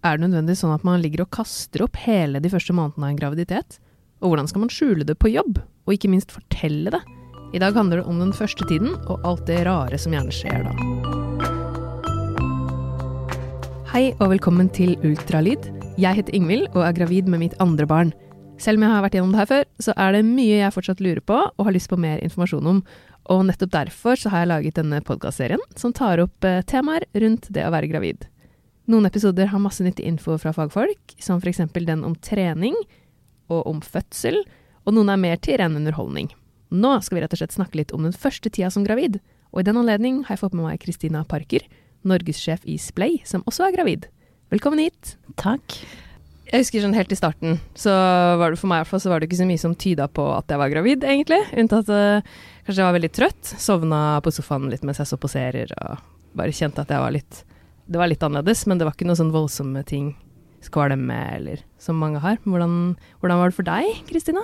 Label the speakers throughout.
Speaker 1: Er det nødvendig sånn at man ligger og kaster opp hele de første månedene av en graviditet? Og hvordan skal man skjule det på jobb, og ikke minst fortelle det? I dag handler det om den første tiden, og alt det rare som gjerne skjer da. Hei og velkommen til Ultralyd. Jeg heter Ingvild og er gravid med mitt andre barn. Selv om jeg har vært gjennom det her før, så er det mye jeg fortsatt lurer på og har lyst på mer informasjon om. Og nettopp derfor så har jeg laget denne podkastserien som tar opp eh, temaer rundt det å være gravid. Noen episoder har masse nyttig info fra fagfolk, som f.eks. den om trening og om fødsel, og noen er mer til ren underholdning. Nå skal vi rett og slett snakke litt om den første tida som gravid, og i den anledning har jeg fått med meg Kristina Parker, norgessjef i Splay, som også er gravid. Velkommen hit!
Speaker 2: Takk.
Speaker 1: Jeg husker sånn helt i starten, så var det for meg i hvert fall, så var det ikke så mye som tyda på at jeg var gravid, egentlig. Unntatt eh, kanskje jeg var veldig trøtt, sovna på sofaen litt mens jeg så på serier, og bare kjente at jeg var litt Det var litt annerledes, men det var ikke noen sånn voldsomme ting, skvalme eller som mange har. Hvordan, hvordan var det for deg, Kristina?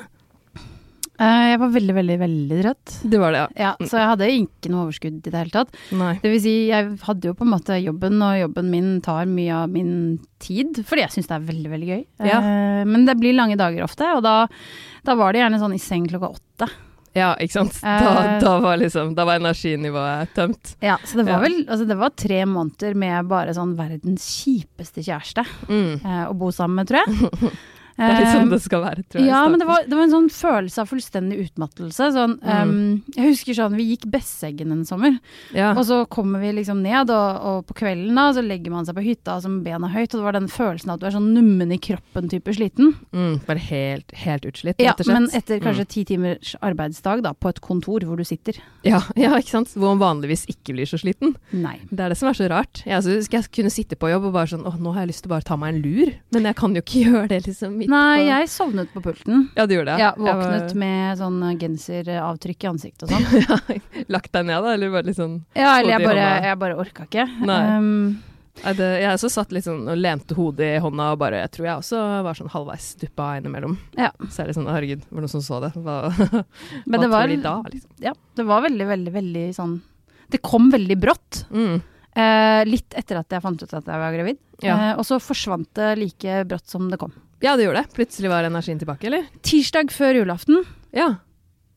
Speaker 2: Eh, Jeg var veldig, veldig, veldig trøtt.
Speaker 1: Det var det,
Speaker 2: Ja, så jeg hadde ikke noe overskudd i det hele tatt.
Speaker 1: ja. Nei.
Speaker 2: Det vil si, jeg hadde jo på en måte jobben, og jobben min tar mye av min tid, fordi jeg syns det er veldig, veldig gøy.
Speaker 1: Ja.
Speaker 2: Eh, Men det blir lange dager ofte, og da, da var det gjerne sånn i seng klokka åtte.
Speaker 1: Ja, ikke sant.
Speaker 2: Eh.
Speaker 1: Da, da var liksom Da var energinivået tømt.
Speaker 2: Ja, så det
Speaker 1: Ja.
Speaker 2: var vel altså det var tre måneder med bare sånn verdens kjipeste kjæreste
Speaker 1: Mm.
Speaker 2: eh, å bo sammen med, tror jeg.
Speaker 1: Det er litt sånn det skal være, tror jeg. i
Speaker 2: Eh. Ja, men det
Speaker 1: starten.
Speaker 2: var, det var en sånn følelse av fullstendig utmattelse. Sånn,
Speaker 1: Mm.
Speaker 2: eh, jeg husker sånn, vi gikk Besseggen en sommer.
Speaker 1: ja.
Speaker 2: Og så kommer vi liksom ned, og, og på kvelden da, så legger man seg på hytta som bena høyt, og det var den følelsen at du er sånn nummen i kroppen type sliten.
Speaker 1: Mm, bare helt, helt utslitt,
Speaker 2: Ja,
Speaker 1: rett og slett.
Speaker 2: men etter kanskje ti timers arbeidsdag da, på et kontor hvor du sitter.
Speaker 1: Ja, ja, ikke sant? Hvor man vanligvis ikke blir så sliten.
Speaker 2: Nei.
Speaker 1: Det er det som er så rart. Jeg altså, skal jeg kunne sitte på jobb og bare sånn åh, nå har jeg lyst til å bare ta meg en lur, men jeg kan jo ikke gjøre det liksom midt
Speaker 2: Nei,
Speaker 1: på
Speaker 2: jeg sovnet på pulten.
Speaker 1: Ja, du gjorde det.
Speaker 2: Ja,
Speaker 1: Jeg var-
Speaker 2: våknet med sånn genseravtrykk i ansiktet og sånn.
Speaker 1: Lagt deg ned, da, eller bare litt sånn
Speaker 2: Ja, eller
Speaker 1: Hodet
Speaker 2: jeg
Speaker 1: i
Speaker 2: bare,
Speaker 1: hånda.
Speaker 2: jeg bare orka ikke.
Speaker 1: Nei.
Speaker 2: Um,
Speaker 1: Nei, det, Jeg også satt litt sånn og lente hodet i hånda og bare Jeg tror jeg også var sånn halvveis duppa innimellom.
Speaker 2: Ja.
Speaker 1: Så er det sånn, «Å, herregud, var det noen som så det? Hva,
Speaker 2: men
Speaker 1: hva
Speaker 2: det var,
Speaker 1: tror de da, liksom?
Speaker 2: ja, det var veldig, veldig, veldig sånn Det kom veldig brått.
Speaker 1: Mm.
Speaker 2: eh, litt etter at jeg fant ut at jeg var gravid.
Speaker 1: Ja.
Speaker 2: Eh, og så forsvant det like brått som det kom.
Speaker 1: ja, det gjorde det. Plutselig var energien tilbake, eller?
Speaker 2: Tirsdag før julaften,
Speaker 1: Ja.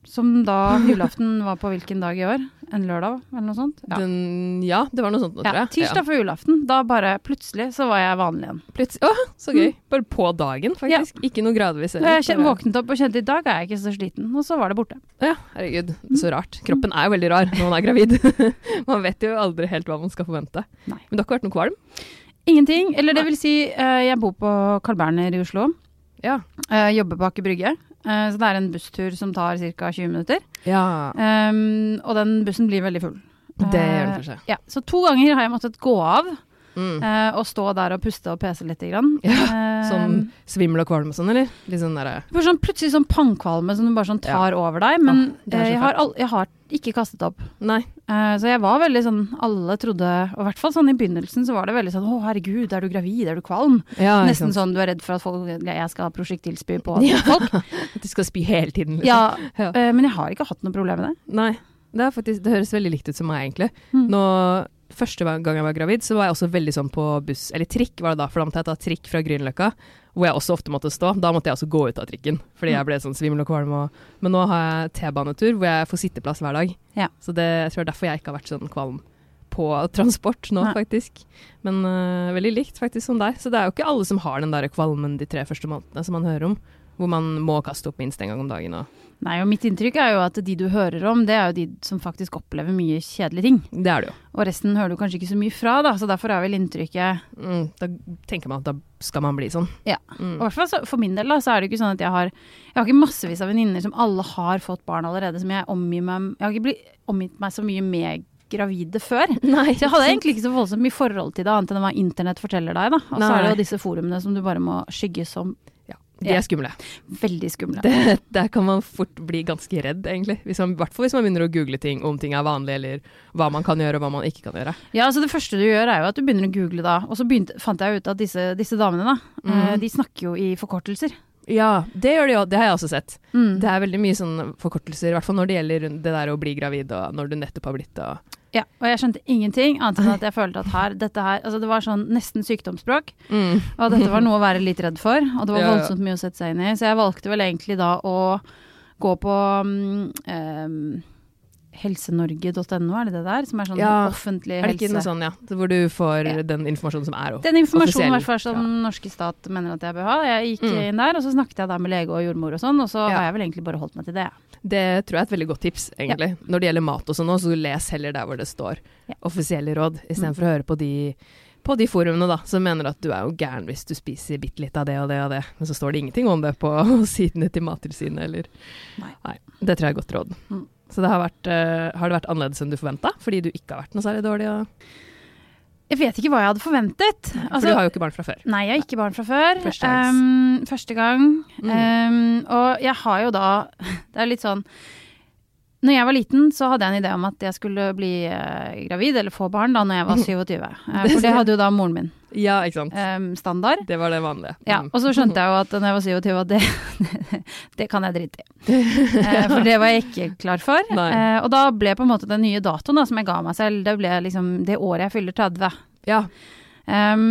Speaker 2: som da julaften var på hvilken dag i år? En lørdag, eller noe sånt? Ja.
Speaker 1: Den, ja, det var noe sånt nå, tror
Speaker 2: Ja,
Speaker 1: jeg.
Speaker 2: tirsdag før julaften. Da bare plutselig så var jeg vanlig igjen.
Speaker 1: Ja. Plutselig. Åh, så gøy. Bare på dagen, faktisk. Ikke noe gradvis.
Speaker 2: Så Mm. jeg kjen-
Speaker 1: Bare-
Speaker 2: våknet opp og kjente i dag er jeg ikke så sliten, og så var det borte.
Speaker 1: Ja, herregud.
Speaker 2: Mm.
Speaker 1: Så rart. Kroppen er jo veldig rar når man er gravid. man vet jo aldri helt hva man skal forvente.
Speaker 2: Nei.
Speaker 1: Men det har ikke vært noe kvalm?
Speaker 2: Ingenting. Eller det vil si, eh, jeg bor på Carl Berner i Oslo.
Speaker 1: Ja.
Speaker 2: eh, jobber på Aker Brygge. eh, så det er en busstur som tar ca. 20 minutter. Ehm, og den bussen blir veldig full.
Speaker 1: Det gjør den
Speaker 2: Eh,
Speaker 1: kanskje.
Speaker 2: Ja, så to ganger har jeg måttet gå av
Speaker 1: Mm.
Speaker 2: eh, og stå der og puste og pese litt. Grann. Eh,
Speaker 1: Sånn svimmel og kvalm og sånn, eller? Litt sånn derre
Speaker 2: For sånn, plutselig sånn pangkvalme som du bare sånn tar over deg. Men
Speaker 1: Åh, det er så
Speaker 2: eh, jeg, har al jeg har ikke kastet opp.
Speaker 1: Nei.
Speaker 2: Eh, så jeg var veldig sånn Alle trodde, og i hvert fall sånn i begynnelsen, så var det veldig sånn Å, herregud, er du gravid? Er du kvalm?
Speaker 1: Ja, ikke
Speaker 2: Nesten
Speaker 1: sant.
Speaker 2: sånn du er redd for at folk, jeg skal prosjektilspy på
Speaker 1: Ja.
Speaker 2: folk.
Speaker 1: sånn At du skal spy hele tiden, liksom.
Speaker 2: Ja,
Speaker 1: Ja.
Speaker 2: eh, men jeg har ikke hatt noe problem med det.
Speaker 1: Nei. Det, er faktisk, det høres veldig likt ut som meg, egentlig.
Speaker 2: Mm.
Speaker 1: Nå, første gang jeg var gravid, så var jeg også veldig sånn på buss Eller trikk, var det da, for da måtte jeg ta trikk fra Grünerløkka, hvor jeg også ofte måtte stå. Da måtte jeg også gå ut av trikken,
Speaker 2: Mm.
Speaker 1: fordi jeg ble sånn svimmel og kvalm. Og, men nå har jeg T-banetur, hvor jeg får sitteplass hver dag.
Speaker 2: Ja.
Speaker 1: Så det jeg tror det er derfor jeg ikke har vært sånn kvalm på transport nå,
Speaker 2: Nei.
Speaker 1: faktisk. Men øh, veldig likt faktisk som deg. Så det er jo ikke alle som har den der kvalmen de tre første månedene som man hører om, hvor man må kaste opp minst en gang om dagen. Og
Speaker 2: Nei, og mitt inntrykk er jo at de du hører om, det er jo de som faktisk opplever mye kjedelige ting.
Speaker 1: det er det jo.
Speaker 2: Og resten hører du kanskje ikke så mye fra, da, så derfor er vel inntrykket
Speaker 1: Mm, da tenker man at da skal man bli sånn.
Speaker 2: Ja. Og i
Speaker 1: Mm.
Speaker 2: hvert fall så- for min del da, så er det jo ikke sånn at jeg har Jeg har ikke massevis av venninner som alle har fått barn allerede, som jeg omgir meg Jeg har ikke blitt, omgitt meg så mye med gravide før.
Speaker 1: Nei,
Speaker 2: Så jeg hadde egentlig ikke så voldsomt mye forhold til det, annet enn hva internett forteller deg, da. Og så
Speaker 1: Nei.
Speaker 2: er det jo disse forumene som du bare må skygge som
Speaker 1: De er skumle.
Speaker 2: veldig skumle.
Speaker 1: Det, der kan man fort bli ganske redd, egentlig. Hvis man, I hvert fall hvis man begynner å google ting, om ting er vanlig, eller hva man kan gjøre og hva man ikke kan gjøre.
Speaker 2: Ja, altså Det første du gjør, er jo at du begynner å google da. Og så begynte, fant jeg ut at disse, disse damene, da,
Speaker 1: Mm.
Speaker 2: eh, de snakker jo i forkortelser.
Speaker 1: Ja, det gjør de jo. Det har jeg også sett.
Speaker 2: Mm.
Speaker 1: Det er veldig mye sånn forkortelser, i hvert fall når det gjelder det der å bli gravid og når du nettopp har blitt det. og-
Speaker 2: Ja, og jeg skjønte ingenting annet enn at jeg følte at her, dette her Altså det var sånn nesten sykdomsspråk,
Speaker 1: Mm.
Speaker 2: og dette var noe å være litt redd for, og det var
Speaker 1: Ja, ja.
Speaker 2: voldsomt mye å sette seg inn i, så jeg valgte vel egentlig da å gå på mm, em, helsenorge.no, er det det der? Som er sånn
Speaker 1: Ja.
Speaker 2: offentlig
Speaker 1: Er det ikke
Speaker 2: helse...
Speaker 1: noe sånn, ja? Hvor du får
Speaker 2: Ja.
Speaker 1: den informasjonen som er. og-
Speaker 2: Den informasjonen i
Speaker 1: Offisiell,
Speaker 2: hvert fall som norske stat mener at jeg bør ha. Jeg gikk
Speaker 1: Mm.
Speaker 2: inn der, og så snakket jeg da med lege og jordmor og sånn, og så
Speaker 1: Ja.
Speaker 2: har jeg vel egentlig bare holdt meg til det.
Speaker 1: Det tror jeg er et veldig godt tips, egentlig. Når det gjelder mat og sånn også, så les heller der hvor det står
Speaker 2: Ja. Mm.
Speaker 1: offisielle råd, istedenfor å høre på de, på de forumene da, som mener at du er jo gæren hvis du spiser bitte litt av det og det og det, men så står det ingenting om det på sidene til Mattilsynet eller
Speaker 2: Nei.
Speaker 1: Det tror jeg er godt råd.
Speaker 2: Mm.
Speaker 1: Så det har, vært, eh, har det vært annerledes enn du forventa? Fordi du ikke har vært noe særlig dårlig? Og,
Speaker 2: Jeg vet ikke hva jeg hadde forventet.
Speaker 1: for
Speaker 2: Altså,
Speaker 1: du har jo ikke barn fra før.
Speaker 2: Nei, jeg har ikke barn fra før.
Speaker 1: Første gangs.
Speaker 2: Ehm, første gang.
Speaker 1: Mm.
Speaker 2: Ehm, og jeg har jo da Det er litt sånn Når jeg var liten, så hadde jeg en idé om at jeg skulle bli eh, gravid eller få barn da når jeg var 27. Eh, for det hadde jo da moren min.
Speaker 1: Ja, ikke sant.
Speaker 2: Ehm, standard.
Speaker 1: Det var det vanlige.
Speaker 2: Ja,
Speaker 1: Mm.
Speaker 2: og så skjønte jeg jo at når jeg var 27 at det, det kan jeg drite i. Eh, For det var jeg ikke klar for.
Speaker 1: Nei.
Speaker 2: Eh, Og da ble på en måte den nye datoen da, som jeg ga meg selv, det ble liksom det året jeg fyller 30.
Speaker 1: Ja.
Speaker 2: Um,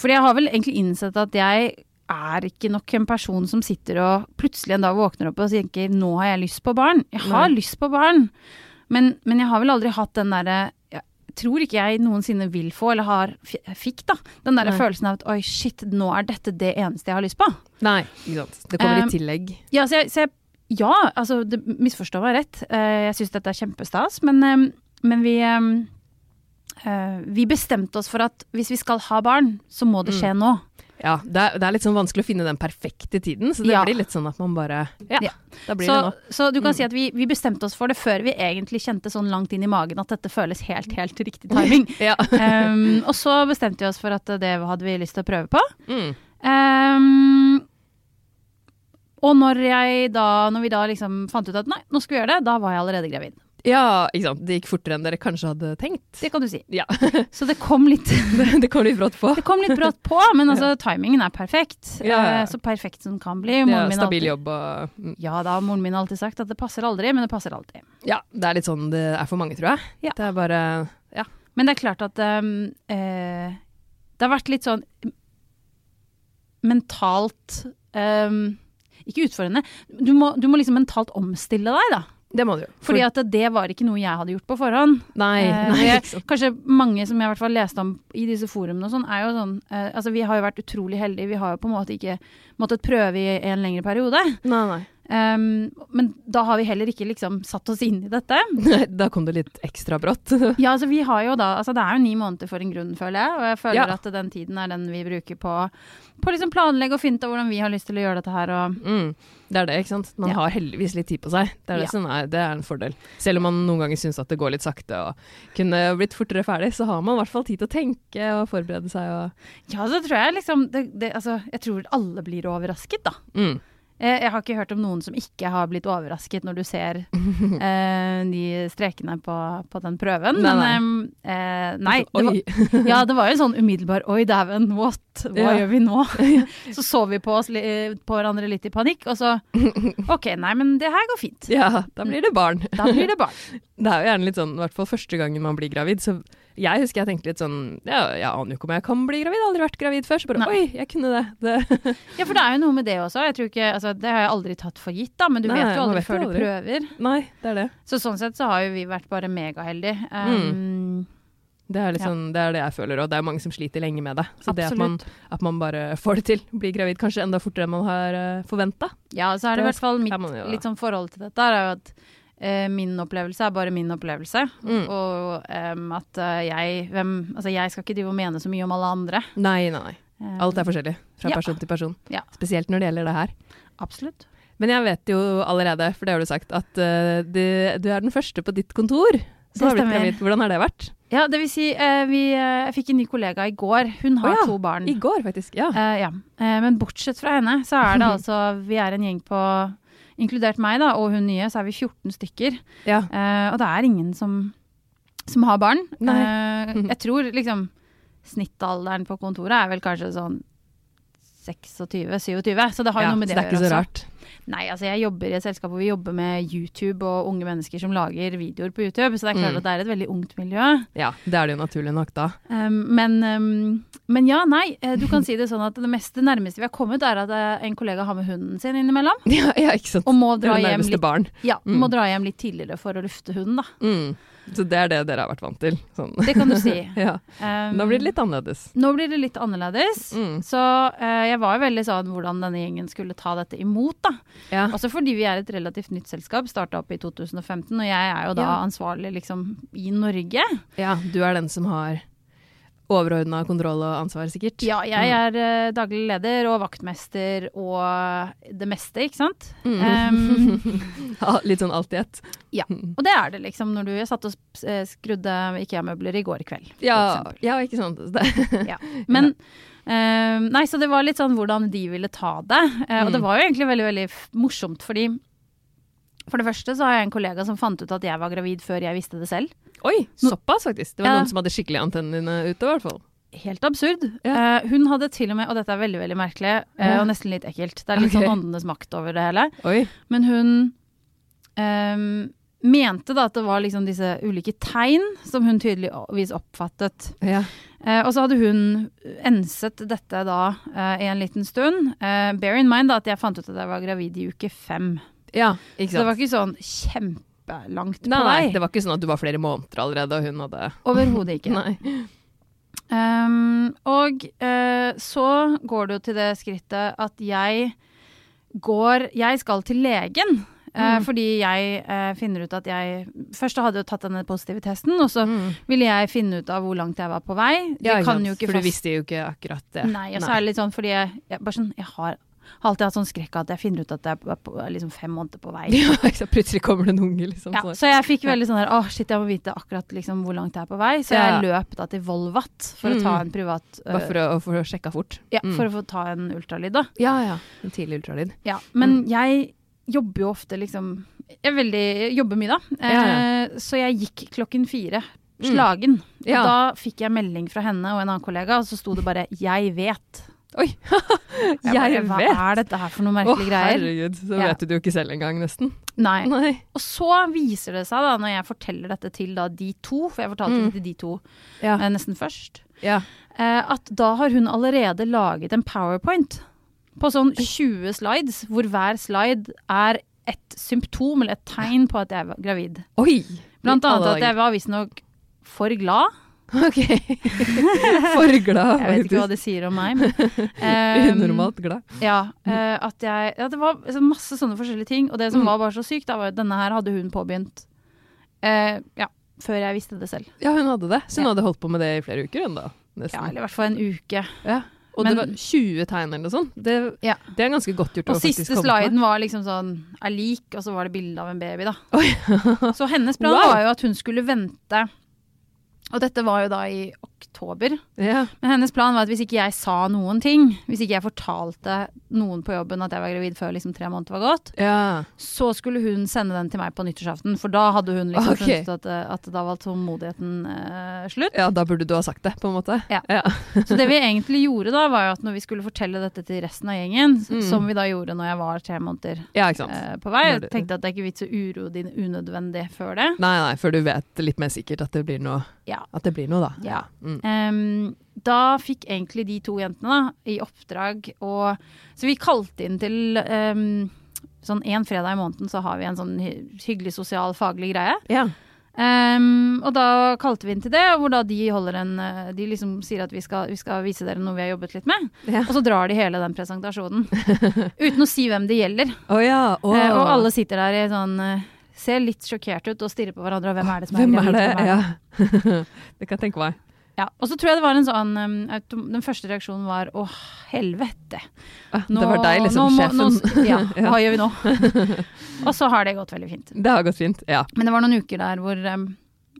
Speaker 2: fordi jeg har vel egentlig innsett at jeg er ikke nok en person som sitter og plutselig en dag våkner opp og tenker 'nå har jeg lyst på barn'. Jeg har
Speaker 1: Nei.
Speaker 2: lyst på barn, men, men jeg har vel aldri hatt den derre jeg tror ikke jeg noensinne vil få, eller har, f- fikk, da. Den der
Speaker 1: Nei.
Speaker 2: følelsen av at oi, shit, nå er dette det eneste jeg har lyst på.
Speaker 1: Nei, ikke sant. Det kommer
Speaker 2: Um,
Speaker 1: i tillegg.
Speaker 2: Ja, så jeg, så jeg, ja altså, det misforstå meg rett. Eh, jeg syns dette er kjempestas, men, eh, men vi eh, eh, Vi bestemte oss for at hvis vi skal ha barn, så må
Speaker 1: Mm.
Speaker 2: det skje nå.
Speaker 1: Ja, det er, det er litt sånn vanskelig å finne den perfekte tiden, så det
Speaker 2: Ja.
Speaker 1: blir litt sånn at man bare Ja,
Speaker 2: Ja.
Speaker 1: da blir
Speaker 2: Så,
Speaker 1: det nå. Mm.
Speaker 2: så du kan si at vi, vi bestemte oss for det før vi egentlig kjente sånn langt inn i magen at dette føles helt, helt riktig timing.
Speaker 1: Ja.
Speaker 2: um, og så bestemte vi oss for at det hadde vi lyst til å prøve på.
Speaker 1: Mm.
Speaker 2: Um, og når, jeg da, når vi da liksom fant ut at nei, nå skal vi gjøre det, da var jeg allerede gravid.
Speaker 1: ja, ikke sant. Det gikk fortere enn dere kanskje hadde tenkt.
Speaker 2: Det kan du si.
Speaker 1: Ja.
Speaker 2: Så det kom litt
Speaker 1: Det, det kom litt brått på.
Speaker 2: Det kom litt brått på, men altså, timingen er perfekt.
Speaker 1: Ja, ja, ja.
Speaker 2: Eh, Så perfekt som den kan bli.
Speaker 1: Det
Speaker 2: Moren
Speaker 1: er
Speaker 2: min har
Speaker 1: stabil
Speaker 2: alltid,
Speaker 1: jobb og mm.
Speaker 2: ja da, moren min har alltid sagt at det passer aldri, men det passer alltid.
Speaker 1: Ja, det er litt sånn det er for mange, tror jeg.
Speaker 2: Ja.
Speaker 1: Det er bare Ja.
Speaker 2: Men det er klart at um, eh, det har vært litt sånn mentalt um, Ikke utfordrende. Du må, du må liksom mentalt omstille deg, da.
Speaker 1: Det må du jo.
Speaker 2: Fordi at det var ikke noe jeg hadde gjort på forhånd.
Speaker 1: Nei,
Speaker 2: Eh,
Speaker 1: nei,
Speaker 2: jeg-
Speaker 1: ikke sant.
Speaker 2: Kanskje mange som jeg i hvert fall leste om i disse forumene og sånn, er jo sånn eh, Altså, vi har jo vært utrolig heldige. Vi har jo på en måte ikke måttet prøve i en lengre periode.
Speaker 1: Nei, nei.
Speaker 2: Um, men da har vi heller ikke liksom satt oss inn i dette.
Speaker 1: Nei, Da kom det litt ekstra brått.
Speaker 2: Ja, altså vi har jo da, altså Det er jo ni måneder for en grunn, føler jeg. Og jeg føler
Speaker 1: Ja.
Speaker 2: at den tiden er den vi bruker på På liksom planlegge og finne ut av hvordan vi har lyst til å gjøre dette her. Og
Speaker 1: Mm. Det er det, ikke sant. Man
Speaker 2: Ja.
Speaker 1: har heldigvis litt tid på seg. Det er, det,
Speaker 2: Ja.
Speaker 1: som er, det er en fordel. Selv om man noen ganger syns at det går litt sakte og kunne blitt fortere ferdig, så har man i hvert fall tid til å tenke og forberede seg og
Speaker 2: ja, så tror jeg liksom det, det, altså, Jeg tror alle blir overrasket, da.
Speaker 1: mm.
Speaker 2: Eh, Jeg har ikke hørt om noen som ikke har blitt overrasket når du ser eh, de strekene på, på den prøven.
Speaker 1: Nei, nei. Altså,
Speaker 2: Men eh, eh, nei. Det var,
Speaker 1: Oi.
Speaker 2: ja, det var jo en sånn umiddelbar Oi, dæven, what? Hva
Speaker 1: Ja.
Speaker 2: gjør vi nå? Så så vi på, oss, li- eh, på hverandre litt i panikk, og så OK, nei, men det her går fint.
Speaker 1: Ja, da blir det barn.
Speaker 2: Da blir det barn.
Speaker 1: Det er jo gjerne litt sånn, i hvert fall første gangen man blir gravid, så jeg husker jeg tenkte litt sånn Ja, jeg aner jo ikke om jeg kan bli gravid, jeg har aldri vært gravid før, så bare
Speaker 2: Nei.
Speaker 1: oi, jeg kunne det. det.
Speaker 2: Ja, for det er jo noe med det også. Jeg tror ikke, altså, det har jeg aldri tatt for gitt, da, men du
Speaker 1: Nei,
Speaker 2: vet jo
Speaker 1: man
Speaker 2: aldri
Speaker 1: vet jo
Speaker 2: før du
Speaker 1: aldri.
Speaker 2: prøver.
Speaker 1: Nei, det er det.
Speaker 2: Så sånn sett så har jo vi vært bare megaheldige.
Speaker 1: Mm.
Speaker 2: Um,
Speaker 1: Det er, litt
Speaker 2: Ja.
Speaker 1: sånn, det er det jeg føler, og det er mange som sliter lenge med det. Så det at man,
Speaker 2: Absolutt.
Speaker 1: at man bare får det til, blir gravid kanskje enda fortere enn man har eh, forventa.
Speaker 2: Ja, så er det i
Speaker 1: Det
Speaker 2: hvert fall mitt
Speaker 1: kan man jo da.
Speaker 2: litt sånn forhold til dette er jo at eh, min opplevelse er bare min opplevelse.
Speaker 1: Mm.
Speaker 2: sånn. Og em, at eh, jeg hvem, Altså, jeg skal ikke drive og mene så mye om alle andre.
Speaker 1: Nei, nei, nei.
Speaker 2: Em,
Speaker 1: Alt er forskjellig fra
Speaker 2: Ja.
Speaker 1: person til person.
Speaker 2: Ja.
Speaker 1: Spesielt når det gjelder det her.
Speaker 2: Absolutt.
Speaker 1: Men jeg vet jo allerede, for det har du sagt, at eh, du, du er den første på ditt kontor som har blitt
Speaker 2: stemmer.
Speaker 1: gravid. Hvordan har det vært?
Speaker 2: Ja, det vil si, eh, vi, eh, jeg fikk en ny kollega i går. Hun har
Speaker 1: Å ja,
Speaker 2: to barn.
Speaker 1: I går, faktisk. Ja.
Speaker 2: Eh, ja. Eh, men bortsett fra henne, så er det altså Vi er en gjeng på Inkludert meg, da, og hun nye, så er vi 14 stykker.
Speaker 1: ja.
Speaker 2: Eh, og det er ingen som, som har barn.
Speaker 1: Nei.
Speaker 2: Eh, jeg tror liksom snittalderen på kontoret er vel kanskje sånn 26-27, så det har jo
Speaker 1: Ja,
Speaker 2: noe med
Speaker 1: så
Speaker 2: det,
Speaker 1: det er ikke
Speaker 2: å
Speaker 1: så
Speaker 2: gjøre. også.
Speaker 1: rart.
Speaker 2: Nei, altså jeg jobber i et selskap hvor vi jobber med YouTube og unge mennesker som lager videoer på YouTube, så det er klart
Speaker 1: Mm.
Speaker 2: at det er et veldig ungt miljø.
Speaker 1: Ja, det er det jo naturlig nok da.
Speaker 2: Um, men, um, men ja, nei, eh, du kan si det sånn at det meste det nærmeste vi har kommet er at eh, en kollega har med hunden sin innimellom,
Speaker 1: Ja, ja ikke sant.
Speaker 2: og må
Speaker 1: Det er
Speaker 2: dra,
Speaker 1: det
Speaker 2: hjem
Speaker 1: nærmeste
Speaker 2: litt,
Speaker 1: barn.
Speaker 2: ja,
Speaker 1: Mm.
Speaker 2: må dra hjem litt tidligere for å lufte hunden, da.
Speaker 1: Mm. Så det er det dere har vært vant til. Sånn.
Speaker 2: Det kan du si.
Speaker 1: Ja.
Speaker 2: Um,
Speaker 1: Da blir det litt annerledes.
Speaker 2: Nå blir det litt annerledes.
Speaker 1: Mm.
Speaker 2: Så eh, jeg var jo veldig sånn hvordan denne gjengen skulle ta dette imot, da.
Speaker 1: Ja.
Speaker 2: Også fordi vi er et relativt nytt selskap, starta opp i 2015, og jeg er jo da
Speaker 1: Ja.
Speaker 2: ansvarlig liksom i Norge.
Speaker 1: ja, du er den som har overordna kontroll og ansvar, sikkert.
Speaker 2: Ja, jeg er eh, daglig leder og vaktmester og det meste, ikke sant.
Speaker 1: Mm. Ja, Litt sånn alt i ett.
Speaker 2: og det er det liksom når du Jeg satt og s- eh, skrudde IKEA-møbler i går kveld. for
Speaker 1: Ja,
Speaker 2: eksempel.
Speaker 1: ja, ikke sant. Det,
Speaker 2: Men eh, Nei, så det var litt sånn hvordan de ville ta det. Eh, Og det
Speaker 1: Mm.
Speaker 2: var jo egentlig veldig, veldig f- morsomt, fordi for det første så har jeg en kollega som fant ut at jeg var gravid før jeg visste det selv.
Speaker 1: oi, såpass faktisk. Det var
Speaker 2: Ja.
Speaker 1: noen som hadde skikkelig antennene dine ute, i hvert fall.
Speaker 2: Helt absurd.
Speaker 1: Ja.
Speaker 2: Eh, hun hadde til og med, og dette er veldig veldig merkelig eh,
Speaker 1: Ja.
Speaker 2: og nesten litt ekkelt, det er litt
Speaker 1: Ok.
Speaker 2: sånn åndenes makt over det hele,
Speaker 1: Oi.
Speaker 2: men hun ehm, mente da at det var liksom disse ulike tegn som hun tydeligvis oppfattet.
Speaker 1: Ja.
Speaker 2: Eh, og så hadde hun enset dette da eh, i en liten stund. Eh, bear in mind da at jeg fant ut at jeg var gravid i uke fem.
Speaker 1: ja, ikke
Speaker 2: Så det
Speaker 1: sant.
Speaker 2: var ikke sånn kjempelangt
Speaker 1: nei,
Speaker 2: på vei.
Speaker 1: nei, det var ikke sånn at du var flere måneder allerede, og hun hadde
Speaker 2: Overhodet ikke.
Speaker 1: Nei.
Speaker 2: Ehm, og eh, så går det jo til det skrittet at jeg går Jeg skal til legen. eh,
Speaker 1: Mm.
Speaker 2: Fordi jeg eh, finner ut at jeg Først hadde jeg jo tatt denne positive testen, og så
Speaker 1: Mm.
Speaker 2: ville jeg finne ut av hvor langt jeg var på vei.
Speaker 1: Ja,
Speaker 2: De
Speaker 1: ikke
Speaker 2: kan
Speaker 1: sant,
Speaker 2: jo ikke
Speaker 1: For
Speaker 2: fast-
Speaker 1: du visste jo ikke akkurat det.
Speaker 2: Nei, og så er det litt sånn fordi jeg, jeg, bare sånn, jeg har har alltid hatt sånn skrekk at jeg finner ut at jeg er på, er liksom fem måneder på vei.
Speaker 1: Ja, ikke sant, plutselig kommer det en unge, liksom.
Speaker 2: Ja,
Speaker 1: så-
Speaker 2: så jeg fikk veldig sånn der, åh shit, jeg må vite akkurat liksom hvor langt jeg er på vei. Så jeg
Speaker 1: Ja.
Speaker 2: løp da til Volvat for å ta
Speaker 1: Mm.
Speaker 2: en privat øh,
Speaker 1: Bare for å, for å sjekke fort.
Speaker 2: Ja,
Speaker 1: Mm.
Speaker 2: for å få ta en ultralyd, da.
Speaker 1: Ja, ja. En tidlig ultralyd.
Speaker 2: Ja, men
Speaker 1: Mm.
Speaker 2: jeg jobber jo ofte liksom Jeg er veldig, jeg jobber mye, da. Eh,
Speaker 1: Ja,
Speaker 2: Så jeg gikk klokken fire.
Speaker 1: Mm.
Speaker 2: Slagen. Og
Speaker 1: Ja.
Speaker 2: Da fikk jeg melding fra henne og en annen kollega, og så sto det bare 'jeg vet'.
Speaker 1: Oi!
Speaker 2: Jeg bare, Hva er dette her for
Speaker 1: Å,
Speaker 2: noen merkelige greier?
Speaker 1: herregud. Så
Speaker 2: Ja.
Speaker 1: vet du det jo ikke selv engang, nesten.
Speaker 2: Nei.
Speaker 1: Nei.
Speaker 2: Og så viser det seg, da, når jeg forteller dette til da, de to, for jeg fortalte
Speaker 1: Mm.
Speaker 2: det til de to
Speaker 1: Ja.
Speaker 2: eh, nesten først,
Speaker 1: ja.
Speaker 2: eh, at da har hun allerede laget en powerpoint på sånn 20 slides, hvor hver slide er et symptom eller et tegn på at jeg var gravid.
Speaker 1: Oi!
Speaker 2: Blant
Speaker 1: I alle
Speaker 2: annet at
Speaker 1: dager.
Speaker 2: jeg var visstnok for glad.
Speaker 1: Ok. For glad,
Speaker 2: Jeg vet ikke hva
Speaker 1: faktisk.
Speaker 2: det sier om meg. Men, eh,
Speaker 1: Unormalt glad.
Speaker 2: Ja, eh, at jeg, ja, det var så masse sånne forskjellige ting. Og det som
Speaker 1: Mm.
Speaker 2: var bare så sykt, da, var at denne her hadde hun påbegynt eh, ja, før jeg visste det selv.
Speaker 1: Ja, hun hadde det. Så hun
Speaker 2: Ja.
Speaker 1: hadde holdt på med det i flere uker ennå.
Speaker 2: Ja,
Speaker 1: Nesten.
Speaker 2: eller i hvert fall en uke.
Speaker 1: Ja. Og det
Speaker 2: Men-
Speaker 1: var 20 tegn eller noe sånt. Det,
Speaker 2: Ja.
Speaker 1: det er ganske godt gjort.
Speaker 2: Og
Speaker 1: å faktisk
Speaker 2: siste
Speaker 1: komme på.
Speaker 2: sliden var liksom sånn er lik, og så var det bilde av en baby, da.
Speaker 1: Oi.
Speaker 2: Så hennes plan
Speaker 1: Wow.
Speaker 2: var jo at hun skulle vente. Og dette var jo da i oktober.
Speaker 1: Ja.
Speaker 2: Men hennes plan var at hvis ikke jeg sa noen ting, hvis ikke jeg fortalte noen på jobben at jeg var gravid før liksom tre måneder var gått,
Speaker 1: ja.
Speaker 2: så skulle hun sende den til meg på nyttårsaften, for da hadde hun liksom
Speaker 1: Ok.
Speaker 2: skjønt at, at da var tålmodigheten eh, slutt.
Speaker 1: Ja, da burde du ha sagt det, på en måte.
Speaker 2: Ja.
Speaker 1: ja.
Speaker 2: Så det vi egentlig gjorde da, var jo at når vi skulle fortelle dette til resten av gjengen, s-
Speaker 1: Mm.
Speaker 2: som vi da gjorde når jeg var tre måneder
Speaker 1: Ja, ikke sant.
Speaker 2: eh, på vei,
Speaker 1: Når du-
Speaker 2: jeg tenkte at det er ikke vits å uroe din unødvendig før det.
Speaker 1: Nei, nei, før du vet litt mer sikkert at det blir noe,
Speaker 2: Ja.
Speaker 1: at det blir noe da.
Speaker 2: Ja.
Speaker 1: Mm.
Speaker 2: Em, da fikk egentlig de to jentene da, i oppdrag å Så vi kalte inn til em, Sånn En fredag i måneden så har vi en sånn hy hyggelig sosial faglig greie.
Speaker 1: Ja.
Speaker 2: Ehm, og da kalte vi inn til det, hvor da de holder en eh, De liksom sier at vi skal, vi skal vise dere noe vi har jobbet litt med.
Speaker 1: Ja.
Speaker 2: Og så drar de hele den presentasjonen. uten å si hvem det gjelder.
Speaker 1: Å ja. å.
Speaker 2: Eh, og alle sitter der i sånn eh, Ser litt sjokkert ut og stirrer på hverandre. Og hvem er det som er
Speaker 1: Hvem er
Speaker 2: gravid?
Speaker 1: det?
Speaker 2: Hvem er det?
Speaker 1: Ja. det kan jeg tenke meg.
Speaker 2: Ja, og så tror jeg det var en sånn em, autom Den første reaksjonen var å, helvete.
Speaker 1: Ah, det var deg, liksom.
Speaker 2: nå må-
Speaker 1: sjefen.
Speaker 2: Nå, ja,
Speaker 1: Ja.
Speaker 2: hva gjør vi nå? og så har det gått veldig fint.
Speaker 1: Det har gått fint. Ja.
Speaker 2: Men det var noen uker der hvor em,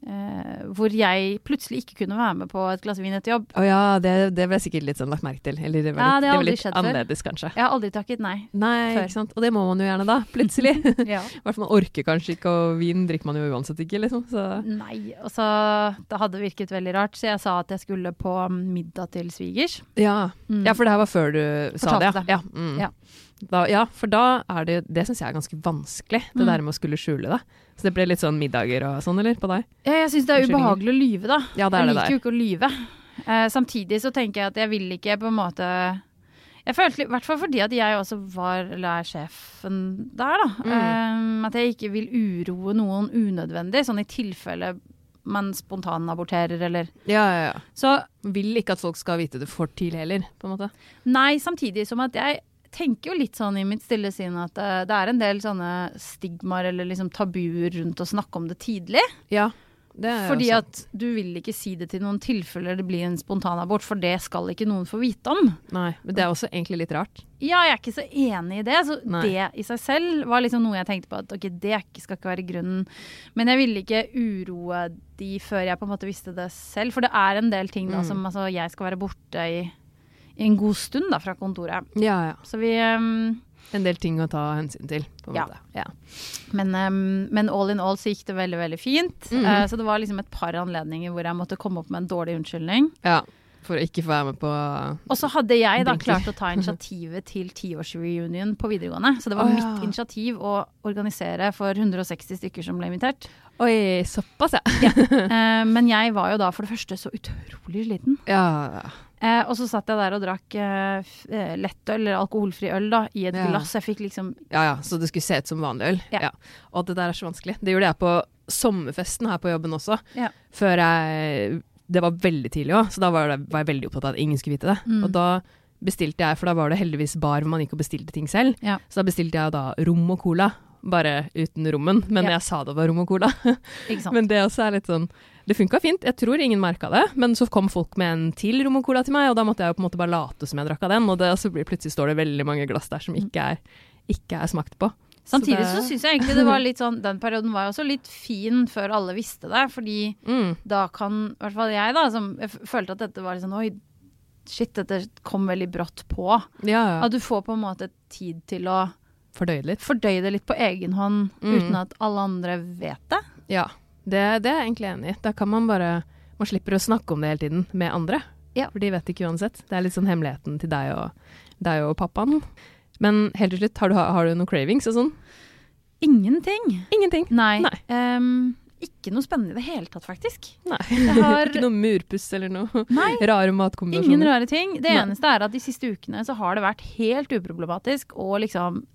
Speaker 2: eh, hvor jeg plutselig ikke kunne være med på et glass vin etter jobb.
Speaker 1: Å ja, det, det ble sikkert litt sånn lagt merke til. Eller det var
Speaker 2: Ja,
Speaker 1: litt,
Speaker 2: det
Speaker 1: det
Speaker 2: har
Speaker 1: var
Speaker 2: aldri
Speaker 1: litt
Speaker 2: skjedd før.
Speaker 1: annerledes, kanskje.
Speaker 2: Jeg har aldri takket nei.
Speaker 1: Nei,
Speaker 2: Før.
Speaker 1: ikke sant? og det må man jo gjerne da, plutselig. I
Speaker 2: Ja.
Speaker 1: hvert fall man orker kanskje ikke, og vin drikker man jo uansett ikke, liksom. Så.
Speaker 2: Nei, og så Det hadde virket veldig rart, så jeg sa at jeg skulle på middag til svigers.
Speaker 1: Ja.
Speaker 2: Mm.
Speaker 1: ja, for det her var før du sa det.
Speaker 2: Fortalte det.
Speaker 1: Ja. Ja, mm.
Speaker 2: Ja.
Speaker 1: Da, ja, for da er det Det syns jeg er ganske vanskelig, det
Speaker 2: Mm.
Speaker 1: der med å skulle skjule det. Så det ble litt sånn middager og sånn, eller? På deg?
Speaker 2: ja, jeg syns det er
Speaker 1: Unnskyldninger.
Speaker 2: ubehagelig å lyve, da.
Speaker 1: Ja, det er
Speaker 2: jeg
Speaker 1: det
Speaker 2: liker
Speaker 1: der.
Speaker 2: jo ikke å lyve. Eh, samtidig så tenker jeg at jeg vil ikke på en måte Jeg følte litt- I hvert fall fordi at jeg også var eller er sjefen der, da.
Speaker 1: Mm.
Speaker 2: Eh, at jeg ikke vil uroe noen unødvendig, sånn i tilfelle man spontanaborterer eller
Speaker 1: Ja, ja, ja.
Speaker 2: Så
Speaker 1: Vil ikke at folk skal vite det for tidlig heller, på en måte.
Speaker 2: Nei, samtidig som at jeg tenker jo litt sånn i mitt stille sinn at eh, det er en del sånne stigmaer eller liksom tabuer rundt å snakke om det tidlig.
Speaker 1: Ja. Det er jo
Speaker 2: Fordi
Speaker 1: sant.
Speaker 2: at du vil ikke si det til noen tilfeller det blir en spontanabort, for det skal ikke noen få vite om.
Speaker 1: Nei, men det er også egentlig litt rart.
Speaker 2: Ja, jeg er ikke så enig i det. Så
Speaker 1: Nei.
Speaker 2: det i seg selv var liksom noe jeg tenkte på at ok, det er ikke- skal ikke være grunnen. Men jeg ville ikke uroe de før jeg på en måte visste det selv. For det er en del ting da
Speaker 1: Mm.
Speaker 2: som altså jeg skal være borte i, i en god stund da fra kontoret.
Speaker 1: Ja, ja.
Speaker 2: Så vi ehm,
Speaker 1: En del ting å ta hensyn til, på en
Speaker 2: Ja.
Speaker 1: måte. Ja.
Speaker 2: Men, ehm, men all in all så gikk det veldig veldig fint.
Speaker 1: Mhm.
Speaker 2: Eh, så det var liksom et par anledninger hvor jeg måtte komme opp med en dårlig unnskyldning.
Speaker 1: ja. For å ikke få være med på
Speaker 2: Og så hadde jeg da
Speaker 1: Blinker.
Speaker 2: klart å ta initiativet til tiårsreunion på videregående. Så det var
Speaker 1: Å, ja.
Speaker 2: mitt initiativ å organisere for 160 stykker som ble invitert.
Speaker 1: Oi, såpass, ja.
Speaker 2: Eh, men jeg var jo da for det første så utrolig sliten.
Speaker 1: Ja,
Speaker 2: Eh, og så satt jeg der og drakk eh, f- eh, lettøl, eller alkoholfri øl, da, i et
Speaker 1: Ja.
Speaker 2: glass. Jeg fikk liksom
Speaker 1: ja, ja. Så det skulle se ut som vanlig øl.
Speaker 2: Ja.
Speaker 1: Og det der er så vanskelig. Det gjorde jeg på sommerfesten her på jobben også.
Speaker 2: Ja.
Speaker 1: Før jeg Det var veldig tidlig òg, så da var, det, var jeg veldig opptatt av at ingen skulle vite det.
Speaker 2: Mm.
Speaker 1: Og da bestilte jeg, for da var det heldigvis bar hvor man gikk og bestilte ting selv.
Speaker 2: Ja.
Speaker 1: Så da bestilte jeg da rom og cola. Bare uten rommen, men
Speaker 2: Ja.
Speaker 1: jeg sa det var rom og cola.
Speaker 2: Ikke sant.
Speaker 1: Men det også er litt sånn Det funka fint, jeg tror ingen merka det. Men så kom folk med en til rom og cola til meg, og da måtte jeg jo på en måte bare late som jeg drakk av den. Og det, så blir, plutselig står det veldig mange glass der som ikke er, ikke er smakt på.
Speaker 2: Mm. Samtidig
Speaker 1: Så
Speaker 2: så
Speaker 1: det-
Speaker 2: syns jeg egentlig det var litt sånn Den perioden var jo også litt fin før alle visste det, fordi
Speaker 1: Mm.
Speaker 2: da kan I hvert fall jeg, da, som jeg f- følte at dette var litt sånn Oi, shit, dette kom veldig brått på.
Speaker 1: Ja, ja.
Speaker 2: At du får på en måte tid til å
Speaker 1: Fordøyd litt.
Speaker 2: fordøye det litt på egen hånd
Speaker 1: Mm.
Speaker 2: uten at alle andre vet det.
Speaker 1: Ja. Det, det er jeg egentlig enig i. Da kan man bare Man slipper å snakke om det hele tiden med andre.
Speaker 2: Ja.
Speaker 1: For de vet ikke uansett. Det er litt sånn hemmeligheten til deg og, deg og pappaen. Men helt til slutt, har du, har du noen cravings og sånn?
Speaker 2: Ingenting.
Speaker 1: Ingenting.
Speaker 2: Nei.
Speaker 1: Nei.
Speaker 2: Ehm, ikke noe spennende i det hele tatt, faktisk.
Speaker 1: Nei.
Speaker 2: Jeg har
Speaker 1: Ikke noe murpuss eller noe
Speaker 2: Nei.
Speaker 1: rare
Speaker 2: Ingen
Speaker 1: matkombinasjoner.
Speaker 2: rare ting. Det
Speaker 1: Nei.
Speaker 2: eneste er at de siste ukene så har det vært helt uproblematisk å liksom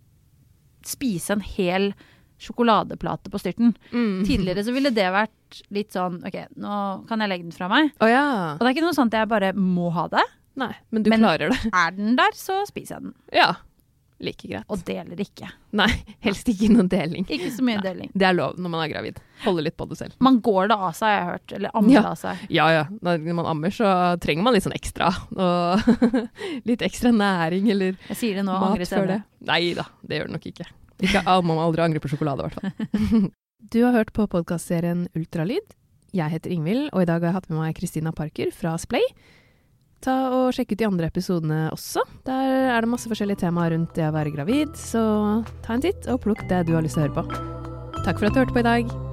Speaker 2: spise en hel sjokoladeplate på styrten.
Speaker 1: Mm.
Speaker 2: Tidligere så ville det vært litt sånn OK, nå kan jeg legge den fra meg.
Speaker 1: Å ja.
Speaker 2: Og det er ikke noe sånt at jeg bare må ha det.
Speaker 1: Nei, men du
Speaker 2: Men-
Speaker 1: klarer det.
Speaker 2: Er den der, så spiser jeg den.
Speaker 1: Ja. Like greit.
Speaker 2: Og deler ikke.
Speaker 1: Nei, helst ikke noen deling.
Speaker 2: Ikke så mye deling.
Speaker 1: Det er lov når man er gravid. Holde litt på det selv.
Speaker 2: Man går det av seg, har jeg hørt. Eller ammer
Speaker 1: Ja.
Speaker 2: det av seg.
Speaker 1: Ja ja, når man ammer så trenger man litt sånn ekstra. Og litt ekstra næring eller
Speaker 2: Jeg sier det nå,
Speaker 1: mat
Speaker 2: angrer
Speaker 1: før det.
Speaker 2: senere.
Speaker 1: Nei da, det gjør det nok ikke. ikke ah, man må aldri angre på sjokolade, i hvert fall. Du har hørt på podkastserien Ultralyd. Jeg heter Ingvild, og i dag har jeg hatt med meg Kristina Parker fra Splay. Ta og Sjekk ut de andre episodene også. Der er det masse forskjellige temaer rundt det å være gravid, så ta en titt og plukk det du har lyst til å høre på. Takk for at du hørte på i dag.